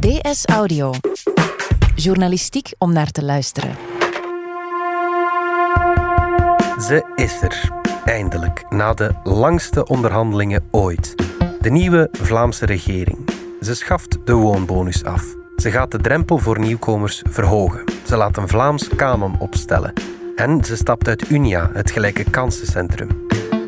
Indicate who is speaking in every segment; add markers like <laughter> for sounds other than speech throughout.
Speaker 1: DS Audio. Journalistiek om naar te luisteren.
Speaker 2: Ze is er, eindelijk, na de langste onderhandelingen ooit. De nieuwe Vlaamse regering. Ze schaft de woonbonus af. Ze gaat de drempel voor nieuwkomers verhogen. Ze laat een Vlaams Kamem opstellen. En ze stapt uit Unia, het gelijke kansencentrum.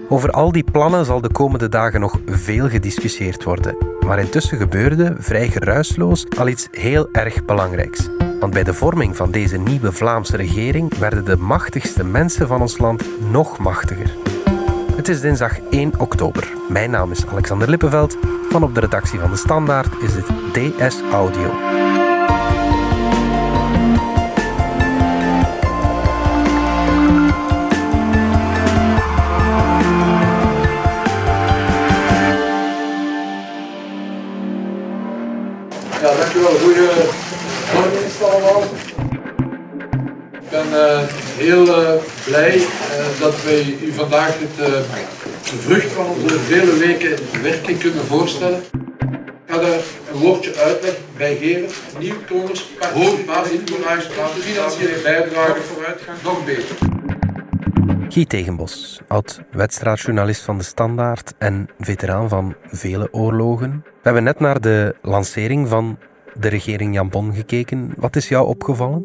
Speaker 2: Over al die plannen zal de komende dagen nog veel gediscussieerd worden. Maar intussen gebeurde, vrij geruisloos, al iets heel erg belangrijks. Want bij de vorming van deze nieuwe Vlaamse regering werden de machtigste mensen van ons land nog machtiger. Het is dinsdag 1 oktober. Mijn naam is Alexander Lippenveld. Van op de redactie van De Standaard is dit DS Audio.
Speaker 3: Ja, dankjewel. Goedemorgen is het allemaal. Ik ben eh, heel eh, blij eh, dat wij u vandaag het, eh, de vrucht van onze vele weken werken kunnen voorstellen. Ik ga daar een woordje uitleg bij geven. Nieuwkomers, hoog basisinkomen, financiële bijdrage, vooruitgang, nog beter.
Speaker 2: Guy Tegenbos, oud-wedstrijdjournalist van De Standaard en veteraan van vele oorlogen. We hebben net naar de lancering van de regering Jan Bon gekeken. Wat is jou opgevallen?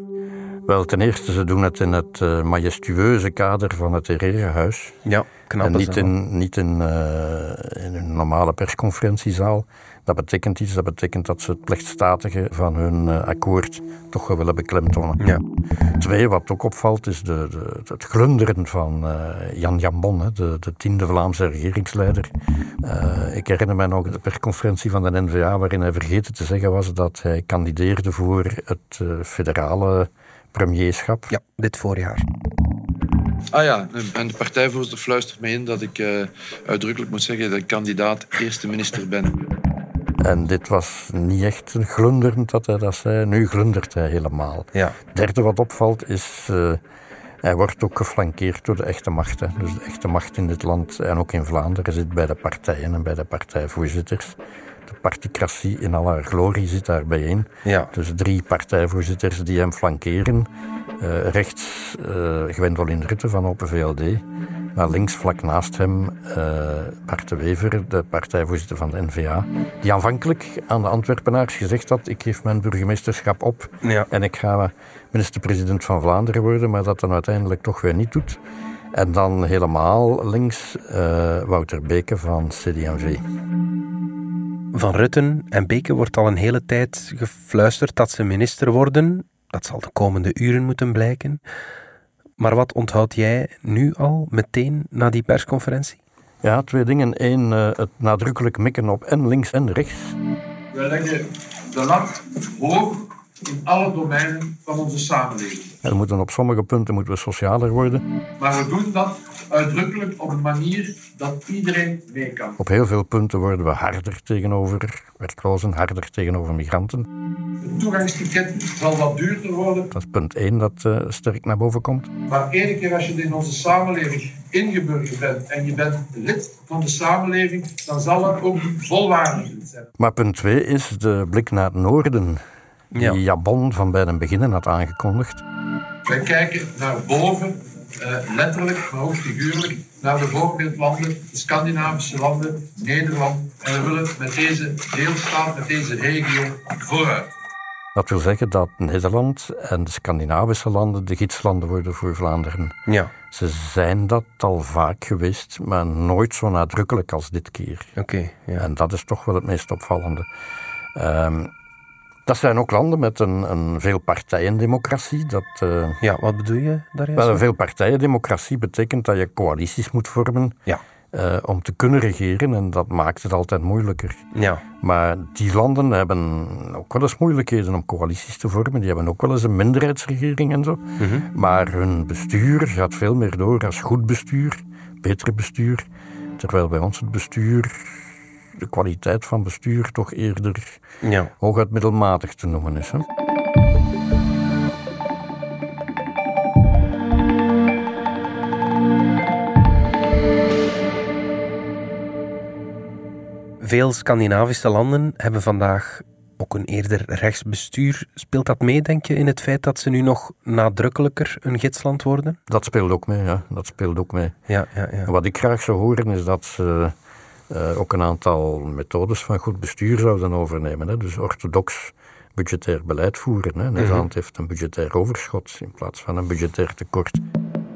Speaker 4: Wel, ten eerste, ze doen het in het eh, majestueuze kader van het Herenhuis.
Speaker 2: Ja,
Speaker 4: En
Speaker 2: knap.
Speaker 4: niet in, niet in, eh, in een normale persconferentiezaal. Dat betekent iets, dat betekent dat ze het plechtstatige van hun eh, akkoord toch wel willen beklemtonen.
Speaker 2: Ja.
Speaker 4: Twee, wat ook opvalt, is de, de, het glunderen van eh, Jan Jambon, hè, de, de tiende Vlaamse regeringsleider. Eh, ik herinner mij nog de persconferentie van de N-VA waarin hij vergeten te zeggen was dat hij kandideerde voor het eh, federale premierschap.
Speaker 2: ja, dit voorjaar.
Speaker 3: Ah ja, en de partijvoorzitter fluistert mij in dat ik eh, uitdrukkelijk moet zeggen dat ik kandidaat eerste minister ben.
Speaker 4: En dit was niet echt een glunderend dat hij dat zei. Nu glundert hij helemaal.
Speaker 2: Ja.
Speaker 4: Het derde wat opvalt is... eh, hij wordt ook geflankeerd door de echte macht. hè. Dus de echte macht in dit land en ook in Vlaanderen zit bij de partijen en bij de partijvoorzitters. De particratie in al haar glorie zit daar bijeen.
Speaker 2: Ja.
Speaker 4: Dus drie partijvoorzitters die hem flankeren. Eh, rechts eh Gwendoline Rutte van Open VLD. Maar links vlak naast hem eh Bart de Wever, de partijvoorzitter van de NVA. Die aanvankelijk aan de Antwerpenaars gezegd had... ik geef mijn burgemeesterschap op
Speaker 2: Ja.
Speaker 4: en ik ga minister-president van Vlaanderen worden. Maar dat dan uiteindelijk toch weer niet doet. En dan helemaal links eh, Wouter Beke van CD&V.
Speaker 2: Van Rutten en Beke wordt al een hele tijd gefluisterd dat ze minister worden. Dat zal de komende uren moeten blijken. Maar wat onthoud jij nu al, meteen na die persconferentie?
Speaker 4: Ja, twee dingen. Eén, eh, het nadrukkelijk mikken op en links en rechts.
Speaker 3: We leggen de lat hoog in alle domeinen van onze samenleving.
Speaker 4: We moeten op sommige punten moeten we socialer worden.
Speaker 3: Maar we doen dat uitdrukkelijk op een manier dat iedereen mee kan.
Speaker 4: Op heel veel punten worden we harder tegenover werklozen, harder tegenover migranten.
Speaker 3: Het toegangsticket zal wat duurder worden,
Speaker 4: Dat is punt één dat eh, sterk naar boven komt.
Speaker 3: maar ene keer als je in onze samenleving ingeburgerd bent en je bent lid van de samenleving, dan zal dat ook volwaardig iets zijn.
Speaker 4: Maar punt twee is de blik naar het noorden.
Speaker 2: Ja.
Speaker 4: Die Jabon van bij den beginnen had aangekondigd.
Speaker 3: Wij kijken naar boven, eh, letterlijk, maar ook figuurlijk, naar de voorbeeldlanden, de Scandinavische landen, Nederland. En we willen met deze deelstaat, met deze regio vooruit.
Speaker 4: Dat wil zeggen dat Nederland en de Scandinavische landen de gidslanden worden voor Vlaanderen.
Speaker 2: Ja,
Speaker 4: Ze zijn dat al vaak geweest, maar nooit zo nadrukkelijk als dit keer.
Speaker 2: oké. ja.
Speaker 4: En dat is toch wel het meest opvallende. Ehm, dat zijn ook landen met een, een veelpartijendemocratie. Dat, eh,
Speaker 2: Ja, wat bedoel je daar juist?
Speaker 4: wel, een veelpartijendemocratie betekent dat je coalities moet vormen
Speaker 2: Ja.
Speaker 4: eh, om te kunnen regeren. En dat maakt het altijd moeilijker.
Speaker 2: Ja,
Speaker 4: Maar die landen hebben ook wel eens moeilijkheden om coalities te vormen. Die hebben ook wel eens een minderheidsregering en zo. Maar hun bestuur gaat veel meer door als goed bestuur, beter bestuur. Terwijl bij ons het bestuur, de kwaliteit van bestuur, toch eerder
Speaker 2: ja.
Speaker 4: hooguit middelmatig te noemen is. Hè?
Speaker 2: Veel Scandinavische landen hebben vandaag ook ook een eerder rechtsbestuur. Speelt dat mee, denk je, in het feit dat ze nu nog nadrukkelijker een gidsland worden?
Speaker 4: Dat speelt ook mee, ja. Dat speelt ook mee.
Speaker 2: Ja, ja, ja.
Speaker 4: En wat ik graag zou horen is dat ze eh, ook een aantal methodes van goed bestuur zouden overnemen. Hè. Dus orthodox budgetair beleid voeren. Hè. Nederland heeft een budgetair overschot in plaats van een budgetair tekort.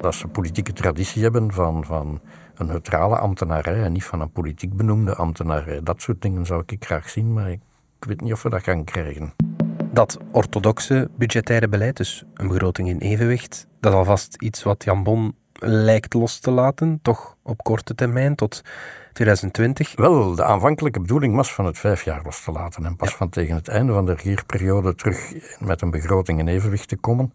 Speaker 4: Dat ze een politieke traditie hebben van, van een neutrale ambtenarij en niet van een politiek benoemde ambtenarij. Dat soort dingen zou ik graag zien, maar ik weet niet of we dat gaan krijgen.
Speaker 2: Dat orthodoxe budgettaire beleid, dus een begroting in evenwicht, dat is alvast iets wat Jan Bon lijkt los te laten, toch op korte termijn tot 2020.
Speaker 4: Wel, de aanvankelijke bedoeling was van het vijf jaar los te laten en pas van tegen het einde van de regeerperiode terug met een begroting in evenwicht te komen.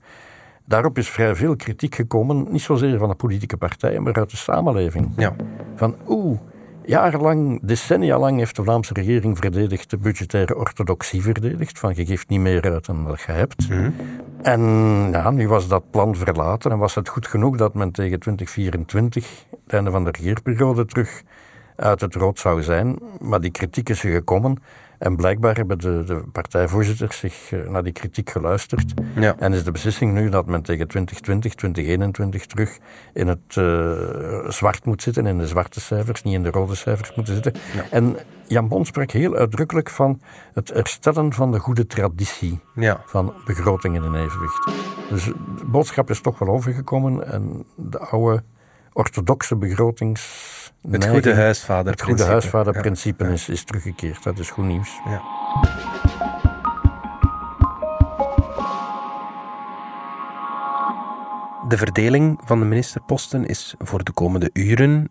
Speaker 4: Daarop is vrij veel kritiek gekomen, niet zozeer van de politieke partijen, maar uit de samenleving.
Speaker 2: Ja,
Speaker 4: Van oeh, jarenlang, decennia lang heeft de Vlaamse regering verdedigd, de budgettaire orthodoxie verdedigd, van je geeft niet meer uit dan wat je hebt. En ja, nu was dat plan verlaten en was het goed genoeg dat men tegen 2024, het einde van de regeerperiode, terug uit het rood zou zijn. Maar die kritiek is er gekomen en blijkbaar hebben de, de partijvoorzitters zich eh, naar die kritiek geluisterd.
Speaker 2: ja.
Speaker 4: En is de beslissing nu dat men tegen 2020, 2021 terug in het eh, zwart moet zitten, in de zwarte cijfers, niet in de rode cijfers moeten zitten. En Jan Bon sprak heel uitdrukkelijk van het herstellen van de goede traditie
Speaker 2: ja.
Speaker 4: van begrotingen in evenwicht. Dus de boodschap is toch wel overgekomen en de oude orthodoxe begrotings...
Speaker 2: Het goede huisvader.
Speaker 4: het goede huisvaderprincipe is, is teruggekeerd. Dat is goed nieuws.
Speaker 2: De verdeling van de ministerposten is voor de komende uren.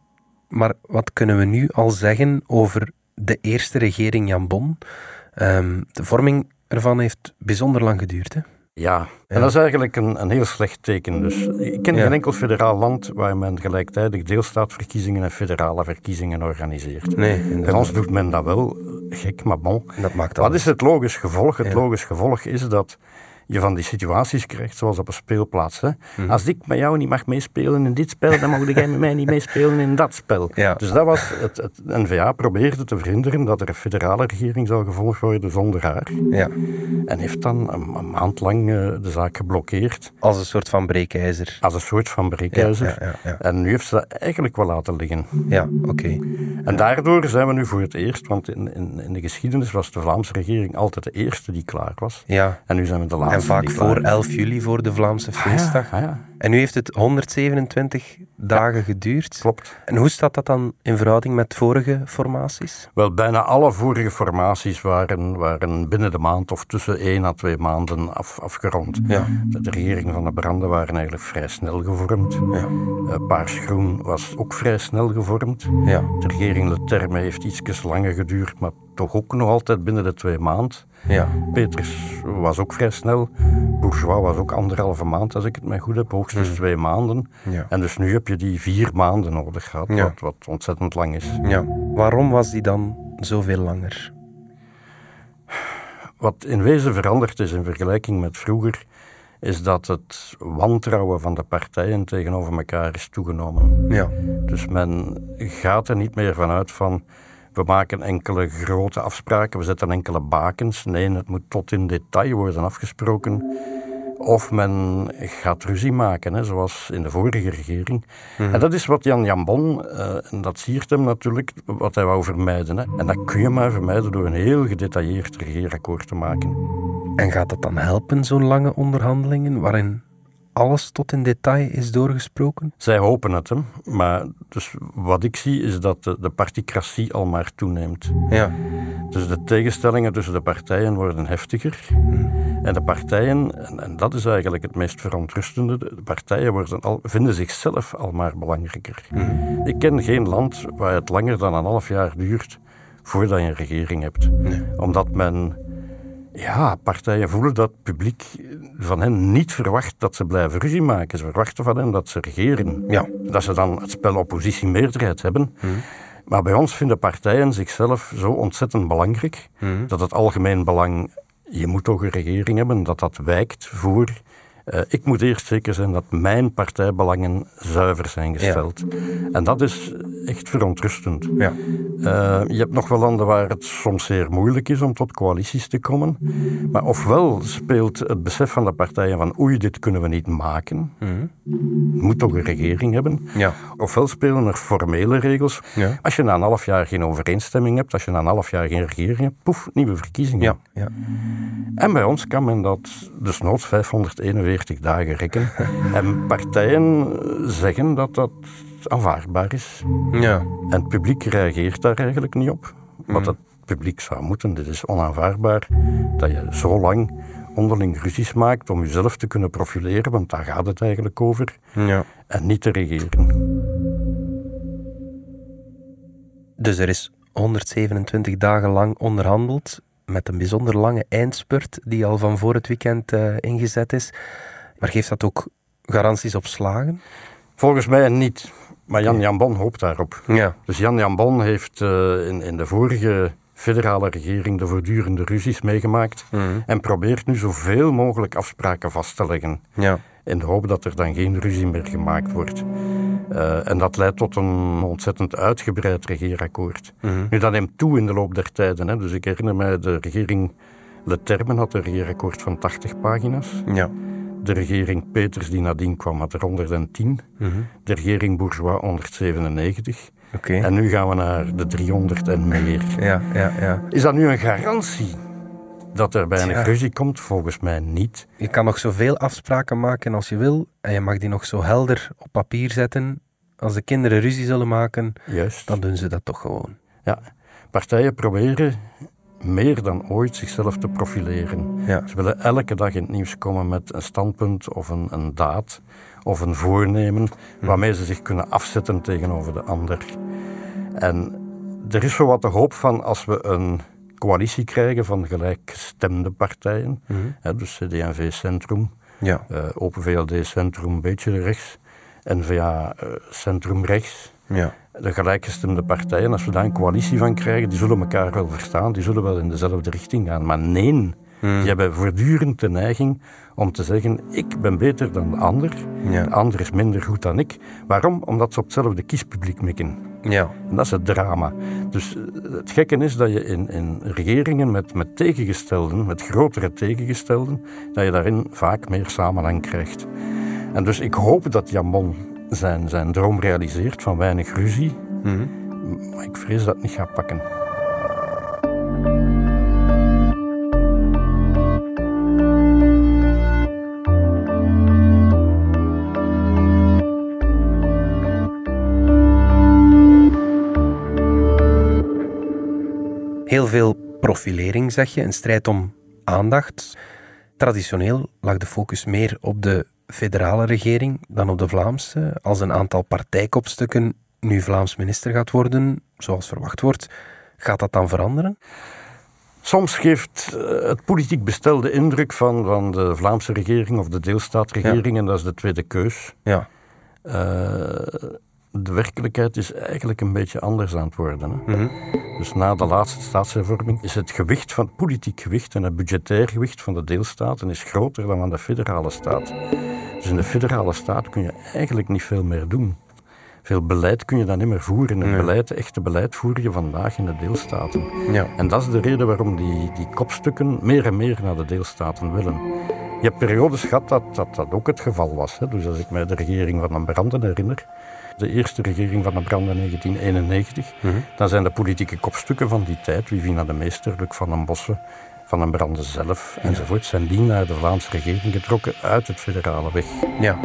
Speaker 2: Maar wat kunnen we nu al zeggen over de eerste regering Jan Bon? Ehm, de vorming ervan heeft bijzonder lang geduurd. Hè?
Speaker 4: Ja, en dat is eigenlijk een, een heel slecht teken. Dus ik ken
Speaker 2: Ja.
Speaker 4: geen enkel federaal land waar men gelijktijdig deelstaatverkiezingen en federale verkiezingen organiseert.
Speaker 2: Nee,
Speaker 4: Bij ons doet men dat wel, gek, maar bon.
Speaker 2: dat maakt dat.
Speaker 4: Wat is het logisch gevolg? Het
Speaker 2: Ja.
Speaker 4: logisch gevolg is dat je van die situaties krijgt, zoals op een speelplaats. Hè?
Speaker 2: Mhm.
Speaker 4: Als ik met jou niet mag meespelen in dit spel, dan mag jij met mij niet meespelen in dat spel.
Speaker 2: <laughs> Ja.
Speaker 4: Dus dat was het, het N-VA probeerde te verhinderen dat er een federale regering zou gevolgd worden zonder haar.
Speaker 2: Ja,
Speaker 4: En heeft dan een, een maand lang eh, de zaak geblokkeerd
Speaker 2: als een soort van breekijzer.
Speaker 4: als een soort van breekijzer.
Speaker 2: Ja, ja, ja, ja.
Speaker 4: En nu heeft ze dat eigenlijk wel laten liggen.
Speaker 2: Ja, oké.
Speaker 4: En daardoor zijn we nu voor het eerst, want in, in, in de geschiedenis was de Vlaamse regering altijd de eerste die klaar was.
Speaker 2: Ja.
Speaker 4: En nu zijn we de laatste
Speaker 2: En vaak
Speaker 4: die klaar
Speaker 2: voor
Speaker 4: is.
Speaker 2: 11 juli, voor de Vlaamse feestdag.
Speaker 4: Ah ja, ah ja,
Speaker 2: En nu heeft het 127 dagen geduurd.
Speaker 4: klopt.
Speaker 2: En hoe staat dat dan in verhouding met vorige formaties?
Speaker 4: Wel, bijna alle vorige formaties waren, waren binnen de maand of tussen één à twee maanden af, afgerond.
Speaker 2: Ja.
Speaker 4: De, de regeringen van de branden waren eigenlijk vrij snel gevormd.
Speaker 2: Ja.
Speaker 4: Eh, Paars-groen was ook vrij snel gevormd.
Speaker 2: Ja.
Speaker 4: De regering Le Terme heeft iets langer geduurd, maar toch ook nog altijd binnen de twee maand.
Speaker 2: Ja.
Speaker 4: Peters was ook vrij snel. Bourgeois was ook anderhalve maand, als ik het mij goed heb, hoogstens twee maanden.
Speaker 2: Hmm. Ja.
Speaker 4: En dus nu heb je die vier maanden nodig gehad,
Speaker 2: Ja.
Speaker 4: wat, wat ontzettend lang is.
Speaker 2: ja. Waarom was die dan zoveel langer?
Speaker 4: Wat in wezen veranderd is in vergelijking met vroeger, is dat het wantrouwen van de partijen tegenover elkaar is toegenomen.
Speaker 2: Ja.
Speaker 4: Dus men gaat er niet meer vanuit van we maken enkele grote afspraken, we zetten enkele bakens. Nee, het moet tot in detail worden afgesproken. Of men gaat ruzie maken, hè, zoals in de vorige regering. En dat is wat Jan Jambon, eh, en dat siert hem natuurlijk, wat hij wou vermijden. Hè. En dat kun je maar vermijden door een heel gedetailleerd regeerakkoord te maken.
Speaker 2: En gaat dat dan helpen, zo'n lange onderhandelingen, waarin alles tot in detail is doorgesproken?
Speaker 4: Zij hopen het, hè. maar dus wat ik zie is dat de, de particratie al maar toeneemt.
Speaker 2: Ja.
Speaker 4: Dus de tegenstellingen tussen de partijen worden heftiger. En de partijen, en, en dat is eigenlijk het meest verontrustende, de partijen worden al, vinden zichzelf al maar belangrijker. Ik ken geen land waar het langer dan een half jaar duurt voordat je een regering hebt. Omdat men, ja, partijen voelen dat het publiek van hen niet verwacht dat ze blijven ruzie maken. Ze verwachten van hen dat ze regeren.
Speaker 2: Ja.
Speaker 4: Dat ze dan het spel oppositie-meerderheid hebben. Maar bij ons vinden partijen zichzelf zo ontzettend belangrijk dat het algemeen belang, je moet toch een regering hebben, dat dat wijkt voor Eh, ik moet eerst zeker zijn dat mijn partijbelangen zuiver zijn gesteld. En dat is echt verontrustend.
Speaker 2: Ja.
Speaker 4: Eh, je hebt nog wel landen waar het soms zeer moeilijk is om tot coalities te komen. Maar ofwel speelt het besef van de partijen van oei, dit kunnen we niet maken. Moet toch een regering hebben.
Speaker 2: Ja.
Speaker 4: Ofwel spelen er formele regels.
Speaker 2: Ja.
Speaker 4: Als je na een half jaar geen overeenstemming hebt, als je na een half jaar geen regering hebt, poef, nieuwe verkiezingen.
Speaker 2: Ja, ja.
Speaker 4: En bij ons kan men dat desnoods 541 dagen
Speaker 2: <laughs>
Speaker 4: rekken. en partijen eh, zeggen dat dat aanvaardbaar is.
Speaker 2: ja.
Speaker 4: En het publiek reageert daar eigenlijk niet op. Wat
Speaker 2: Mm.
Speaker 4: het publiek zou moeten. Dit is onaanvaardbaar dat je zo lang onderling ruzies maakt om jezelf te kunnen profileren, want daar gaat het eigenlijk over,
Speaker 2: ja.
Speaker 4: en niet te regeren.
Speaker 2: Dus er is 127 dagen lang onderhandeld met een bijzonder lange eindspurt die al van voor het weekend eh, ingezet is. Maar geeft dat ook garanties op slagen?
Speaker 4: Volgens mij niet. Maar Jan Jambon hoopt daarop.
Speaker 2: Ja.
Speaker 4: Dus Jan Jambon heeft eh, in, in de vorige federale regering de voortdurende ruzies meegemaakt en probeert nu zoveel mogelijk afspraken vast te leggen.
Speaker 2: Ja.
Speaker 4: In de hoop dat er dan geen ruzie meer gemaakt wordt. Eh, en dat leidt tot een ontzettend uitgebreid regeerakkoord. Nu, dat neemt toe in de loop der tijden. Hè. Dus ik herinner mij, de regering Leterme had een regeerakkoord van 80 pagina's.
Speaker 2: Ja.
Speaker 4: De regering Peters, die nadien kwam, had er 110.
Speaker 2: Mhm.
Speaker 4: De regering Bourgeois 197.
Speaker 2: Oké.
Speaker 4: En nu gaan we naar de 300 en meer.
Speaker 2: Ja, ja, ja.
Speaker 4: Is dat nu een garantie dat er bij
Speaker 2: Tja.
Speaker 4: een ruzie komt? Volgens mij niet.
Speaker 2: Je kan nog zoveel afspraken maken als je wil en je mag die nog zo helder op papier zetten. Als de kinderen ruzie zullen maken,
Speaker 4: Juist.
Speaker 2: dan doen ze dat toch gewoon.
Speaker 4: Ja, partijen proberen meer dan ooit zichzelf te profileren.
Speaker 2: Ja.
Speaker 4: Ze willen elke dag in het nieuws komen met een standpunt of een, een daad of een voornemen waarmee ze zich kunnen afzetten tegenover de ander. En er is zowat de hoop van als we een coalitie krijgen van gelijkgestemde partijen, hè, dus CD&V Centrum,
Speaker 2: Ja.
Speaker 4: eh, Open VLD Centrum een beetje rechts, N-VA eh, Centrum rechts,
Speaker 2: Ja.
Speaker 4: de gelijkgestemde partijen, als we daar een coalitie van krijgen, die zullen elkaar wel verstaan, die zullen wel in dezelfde richting gaan. Maar nee, die hebben voortdurend de neiging om te zeggen, ik ben beter dan de ander,
Speaker 2: Ja.
Speaker 4: de ander is minder goed dan ik. Waarom? Omdat ze op hetzelfde kiespubliek mikken.
Speaker 2: Ja.
Speaker 4: En dat is het drama. Dus eh, het gekke is dat je in, in regeringen met, met tegengestelden, met grotere tegengestelden, dat je daarin vaak meer samenhang krijgt. En dus ik hoop dat Jamon zijn, zijn droom realiseert van weinig ruzie. Maar ik vrees dat het niet gaat pakken.
Speaker 2: Heel veel profilering, zeg je, een strijd om aandacht. Traditioneel lag de focus meer op de federale regering dan op de Vlaamse. Als een aantal partijkopstukken nu Vlaams minister gaat worden, zoals verwacht wordt, gaat dat dan veranderen?
Speaker 4: Soms geeft eh, het politiek bestel de indruk van, van de Vlaamse regering of de deelstaatregering, en dat is de tweede keus.
Speaker 2: Ja.
Speaker 4: Eh, de werkelijkheid is eigenlijk een beetje anders aan het worden. Hè? Dus na de laatste staatshervorming is het gewicht van het politiek gewicht en het budgetair gewicht van de deelstaten is groter dan van de federale staat. Dus in de federale staat kun je eigenlijk niet veel meer doen. Veel beleid kun je dan niet meer voeren. Een beleid, echte beleid voer je vandaag in de deelstaten.
Speaker 2: Ja.
Speaker 4: En dat is de reden waarom die, die kopstukken meer en meer naar de deelstaten willen. Je hebt periodes gehad dat dat, dat ook het geval was. Hè. Dus als ik mij de regering van Van Branden herinner, de eerste regering van Van Branden in 1991, dan zijn de politieke kopstukken van die tijd, Vivina de Meester, Luc van den Bossen, Van den Branden zelf enzovoort, zijn die naar de Vlaamse regering getrokken uit het federale weg.
Speaker 2: Ja.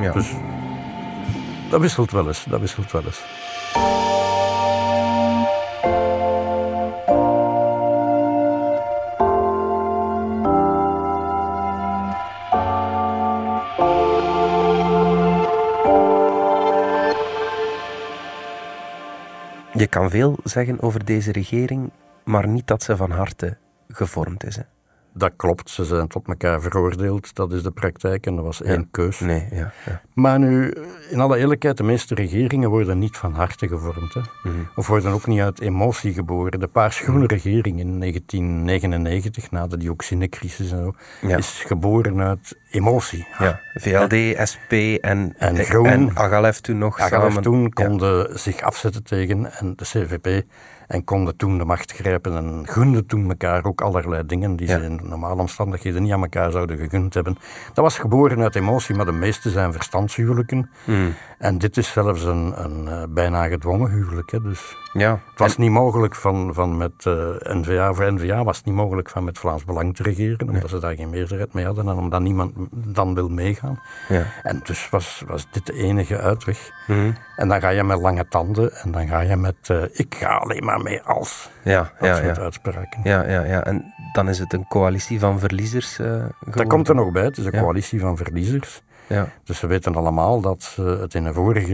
Speaker 2: ja.
Speaker 4: Dus dat wisselt wel eens, dat wisselt wel eens.
Speaker 2: Je kan veel zeggen over deze regering, maar niet dat ze van harte gevormd is. Hè?
Speaker 4: Dat klopt, ze zijn tot elkaar veroordeeld. Dat is de praktijk en dat was één keus.
Speaker 2: Nee, ja. ja.
Speaker 4: Maar nu, in alle eerlijkheid, de meeste regeringen worden niet van harte gevormd. Hè.
Speaker 2: Mhm.
Speaker 4: Of worden ook niet uit emotie geboren. De paars-groene regering in 1999, na de dioxinecrisis en zo,
Speaker 2: Ja.
Speaker 4: is geboren uit emotie.
Speaker 2: Ja, VLD, SP en, eh,
Speaker 4: En Groen.
Speaker 2: en AGALEF toen nog
Speaker 4: AGALF
Speaker 2: samen.
Speaker 4: toen konden zich afzetten tegen en de CVP en konden toen de macht grijpen en gunden toen elkaar ook allerlei dingen die
Speaker 2: Ja.
Speaker 4: ze in normale omstandigheden niet aan elkaar zouden gegund hebben. Dat was geboren uit emotie, maar de meeste zijn verstandshuwelijken.
Speaker 2: Hmm.
Speaker 4: En dit is zelfs een, een eh, bijna gedwongen huwelijk. Hè, dus.
Speaker 2: Ja,
Speaker 4: Het was niet mogelijk van, van met eh NVA, voor NVA was het niet mogelijk van met Vlaams Belang te regeren, omdat ze daar geen meerderheid mee hadden en omdat niemand dan wil meegaan.
Speaker 2: Ja. Mhm.
Speaker 4: En dus was, was dit de enige uitweg. En dan ga je met lange tanden en dan ga je met eh, ik ga alleen maar mee als.
Speaker 2: ja,
Speaker 4: Dat
Speaker 2: ja,
Speaker 4: soort
Speaker 2: ja.
Speaker 4: uitspraken.
Speaker 2: Ja, ja, ja. En dan is het een coalitie van verliezers eh geworden.
Speaker 4: Dat komt er nog bij, het is een
Speaker 2: Ja.
Speaker 4: coalitie van verliezers.
Speaker 2: Ja,
Speaker 4: Dus we weten allemaal dat ze het in de vorige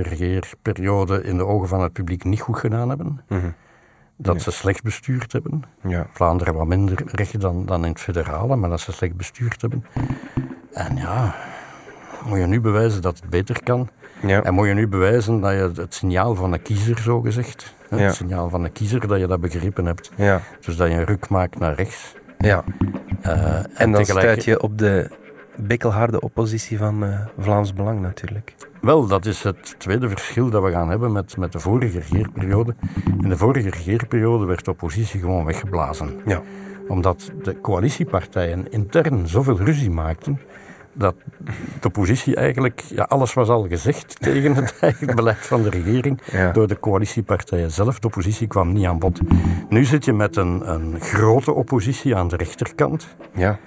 Speaker 4: regeerperiode in de ogen van het publiek niet goed gedaan hebben.
Speaker 2: Mhm.
Speaker 4: Dat ze slecht bestuurd hebben.
Speaker 2: ja.
Speaker 4: Vlaanderen wat minder recht dan, dan in het federale, maar dat ze slecht bestuurd hebben. En ja, moet je nu bewijzen dat het beter kan.
Speaker 2: ja.
Speaker 4: En moet je nu bewijzen dat je het signaal van de kiezer, zo gezegd, het
Speaker 2: Ja.
Speaker 4: signaal van de kiezer, dat je dat begrepen hebt.
Speaker 2: Ja,
Speaker 4: Dus dat je een ruk maakt naar rechts.
Speaker 2: ja.
Speaker 4: Eh,
Speaker 2: En dan
Speaker 4: tegelijk-
Speaker 2: stuit je op de bikkelharde oppositie van eh, Vlaams Belang natuurlijk.
Speaker 4: Wel, dat is het tweede verschil dat we gaan hebben met, met de vorige regeerperiode. In de vorige regeerperiode werd de oppositie gewoon weggeblazen.
Speaker 2: Ja.
Speaker 4: Omdat de coalitiepartijen intern zoveel ruzie maakten. Dat de oppositie eigenlijk, ja, alles was al gezegd <laughs> tegen het eigen beleid van de regering
Speaker 2: Ja.
Speaker 4: door de coalitiepartijen zelf. De oppositie kwam niet aan bod. Nu zit je met een, een grote oppositie aan de rechterkant.
Speaker 2: Ja.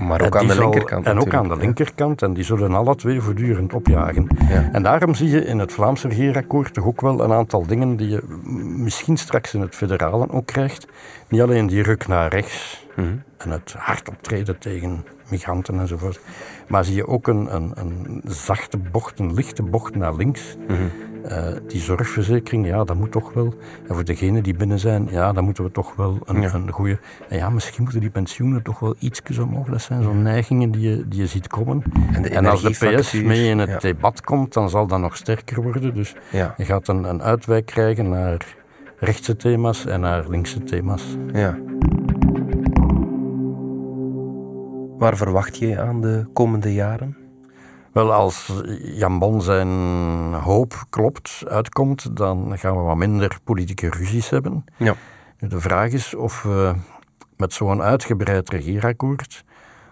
Speaker 2: Maar ook
Speaker 4: En
Speaker 2: aan de
Speaker 4: die zal-
Speaker 2: linkerkant
Speaker 4: En ook
Speaker 2: natuurlijk.
Speaker 4: aan de linkerkant. En die zullen alle twee voortdurend opjagen.
Speaker 2: Ja.
Speaker 4: En daarom zie je in het Vlaamse regeerakkoord toch ook wel een aantal dingen die je m- misschien straks in het federale ook krijgt. Niet alleen die ruk naar rechts
Speaker 2: Mhm.
Speaker 4: en het hard optreden tegen migranten enzovoort. Maar zie je ook een, een, een zachte bocht, een lichte bocht naar links.
Speaker 2: Mhm.
Speaker 4: Eh, die zorgverzekering, ja, dat moet toch wel. En voor degenen die binnen zijn, ja, dan moeten we toch wel een, een goede. En ja, misschien moeten die pensioenen toch wel iets omhoog. Dat zijn zo'n neigingen die je, die je ziet komen.
Speaker 2: En de
Speaker 4: als de PS
Speaker 2: energiefactuur,
Speaker 4: mee in het
Speaker 2: ja.
Speaker 4: debat komt, dan zal dat nog sterker worden. Dus
Speaker 2: Ja.
Speaker 4: je gaat een, een uitwijk krijgen naar rechtse thema's en naar linkse thema's.
Speaker 2: Ja. Waar verwacht je aan de komende jaren?
Speaker 4: Wel, als Jan Bon zijn hoop klopt, uitkomt, dan gaan we wat minder politieke ruzies hebben.
Speaker 2: Ja.
Speaker 4: Nu, De vraag is of we met zo'n uitgebreid regeerakkoord,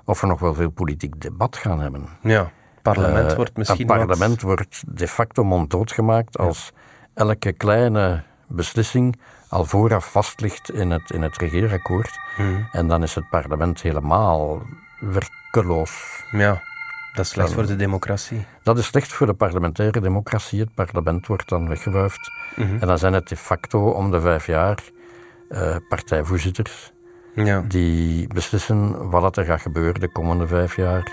Speaker 4: of we nog wel veel politiek debat gaan hebben.
Speaker 2: Ja. Parlement
Speaker 4: Eh,
Speaker 2: wordt misschien
Speaker 4: Een
Speaker 2: wat-
Speaker 4: parlement wordt de facto monddood gemaakt als elke kleine beslissing al vooraf vast ligt in het, in het regeerakkoord.
Speaker 2: Mhm.
Speaker 4: En dan is het parlement helemaal werkeloos.
Speaker 2: Ja. Dat is slecht voor de democratie.
Speaker 4: Dat is slecht voor de parlementaire democratie. Het parlement wordt dan weggewuifd.
Speaker 2: Mhm.
Speaker 4: En dan zijn het de facto om de vijf jaar eh, partijvoorzitters
Speaker 2: Ja.
Speaker 4: die beslissen wat er gaat gebeuren de komende vijf jaar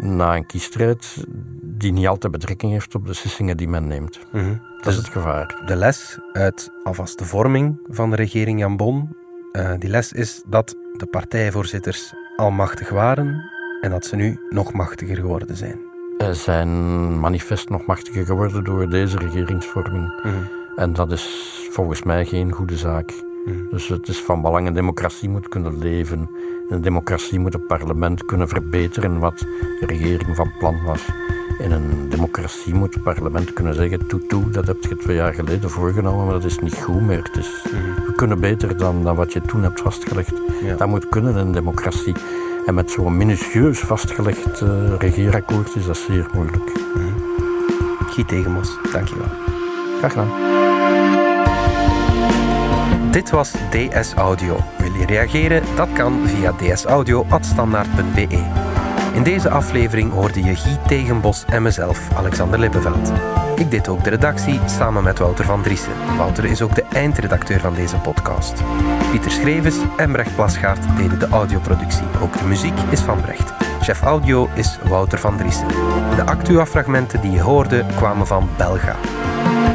Speaker 4: na een kiesstrijd die niet altijd betrekking heeft op de beslissingen die men neemt.
Speaker 2: Mhm.
Speaker 4: Dat is het gevaar.
Speaker 2: de les uit alvast de vorming van de regering Jan Bon. eh, die les is dat de partijvoorzitters al machtig waren en dat ze nu nog machtiger geworden zijn.
Speaker 4: Zij Eh, zijn manifest nog machtiger geworden door deze regeringsvorming.
Speaker 2: Mhm.
Speaker 4: En dat is volgens mij geen goede zaak. Dus het is van belang. Een democratie moet kunnen leven. Een democratie moet het parlement kunnen verbeteren wat de regering van plan was. In een democratie moet het parlement kunnen zeggen: toe, toe, dat heb je twee jaar geleden voorgenomen, maar dat is niet goed meer. Het is, We kunnen beter dan, dan wat je toen hebt vastgelegd.
Speaker 2: Ja.
Speaker 4: Dat moet kunnen in een democratie. En met zo'n minutieus vastgelegd eh, regeerakkoord is dat zeer moeilijk.
Speaker 2: Guy Tegemans, dankjewel.
Speaker 4: Graag gedaan.
Speaker 2: Dit was DS Audio. Wil je reageren? Dat kan via dsaudio.standaard.be. e. In deze aflevering hoorde je Guy Tegenbos en mezelf, Alexander Lippenveld. Ik deed ook de redactie samen met Wouter van Driessen. Wouter is ook de eindredacteur van deze podcast. Pieter Schrevens en Brecht Plasgaard deden de audioproductie. Ook de muziek is van Brecht. Chef audio is Wouter van Driessen. De Actua-fragmenten die je hoorde kwamen van Belga.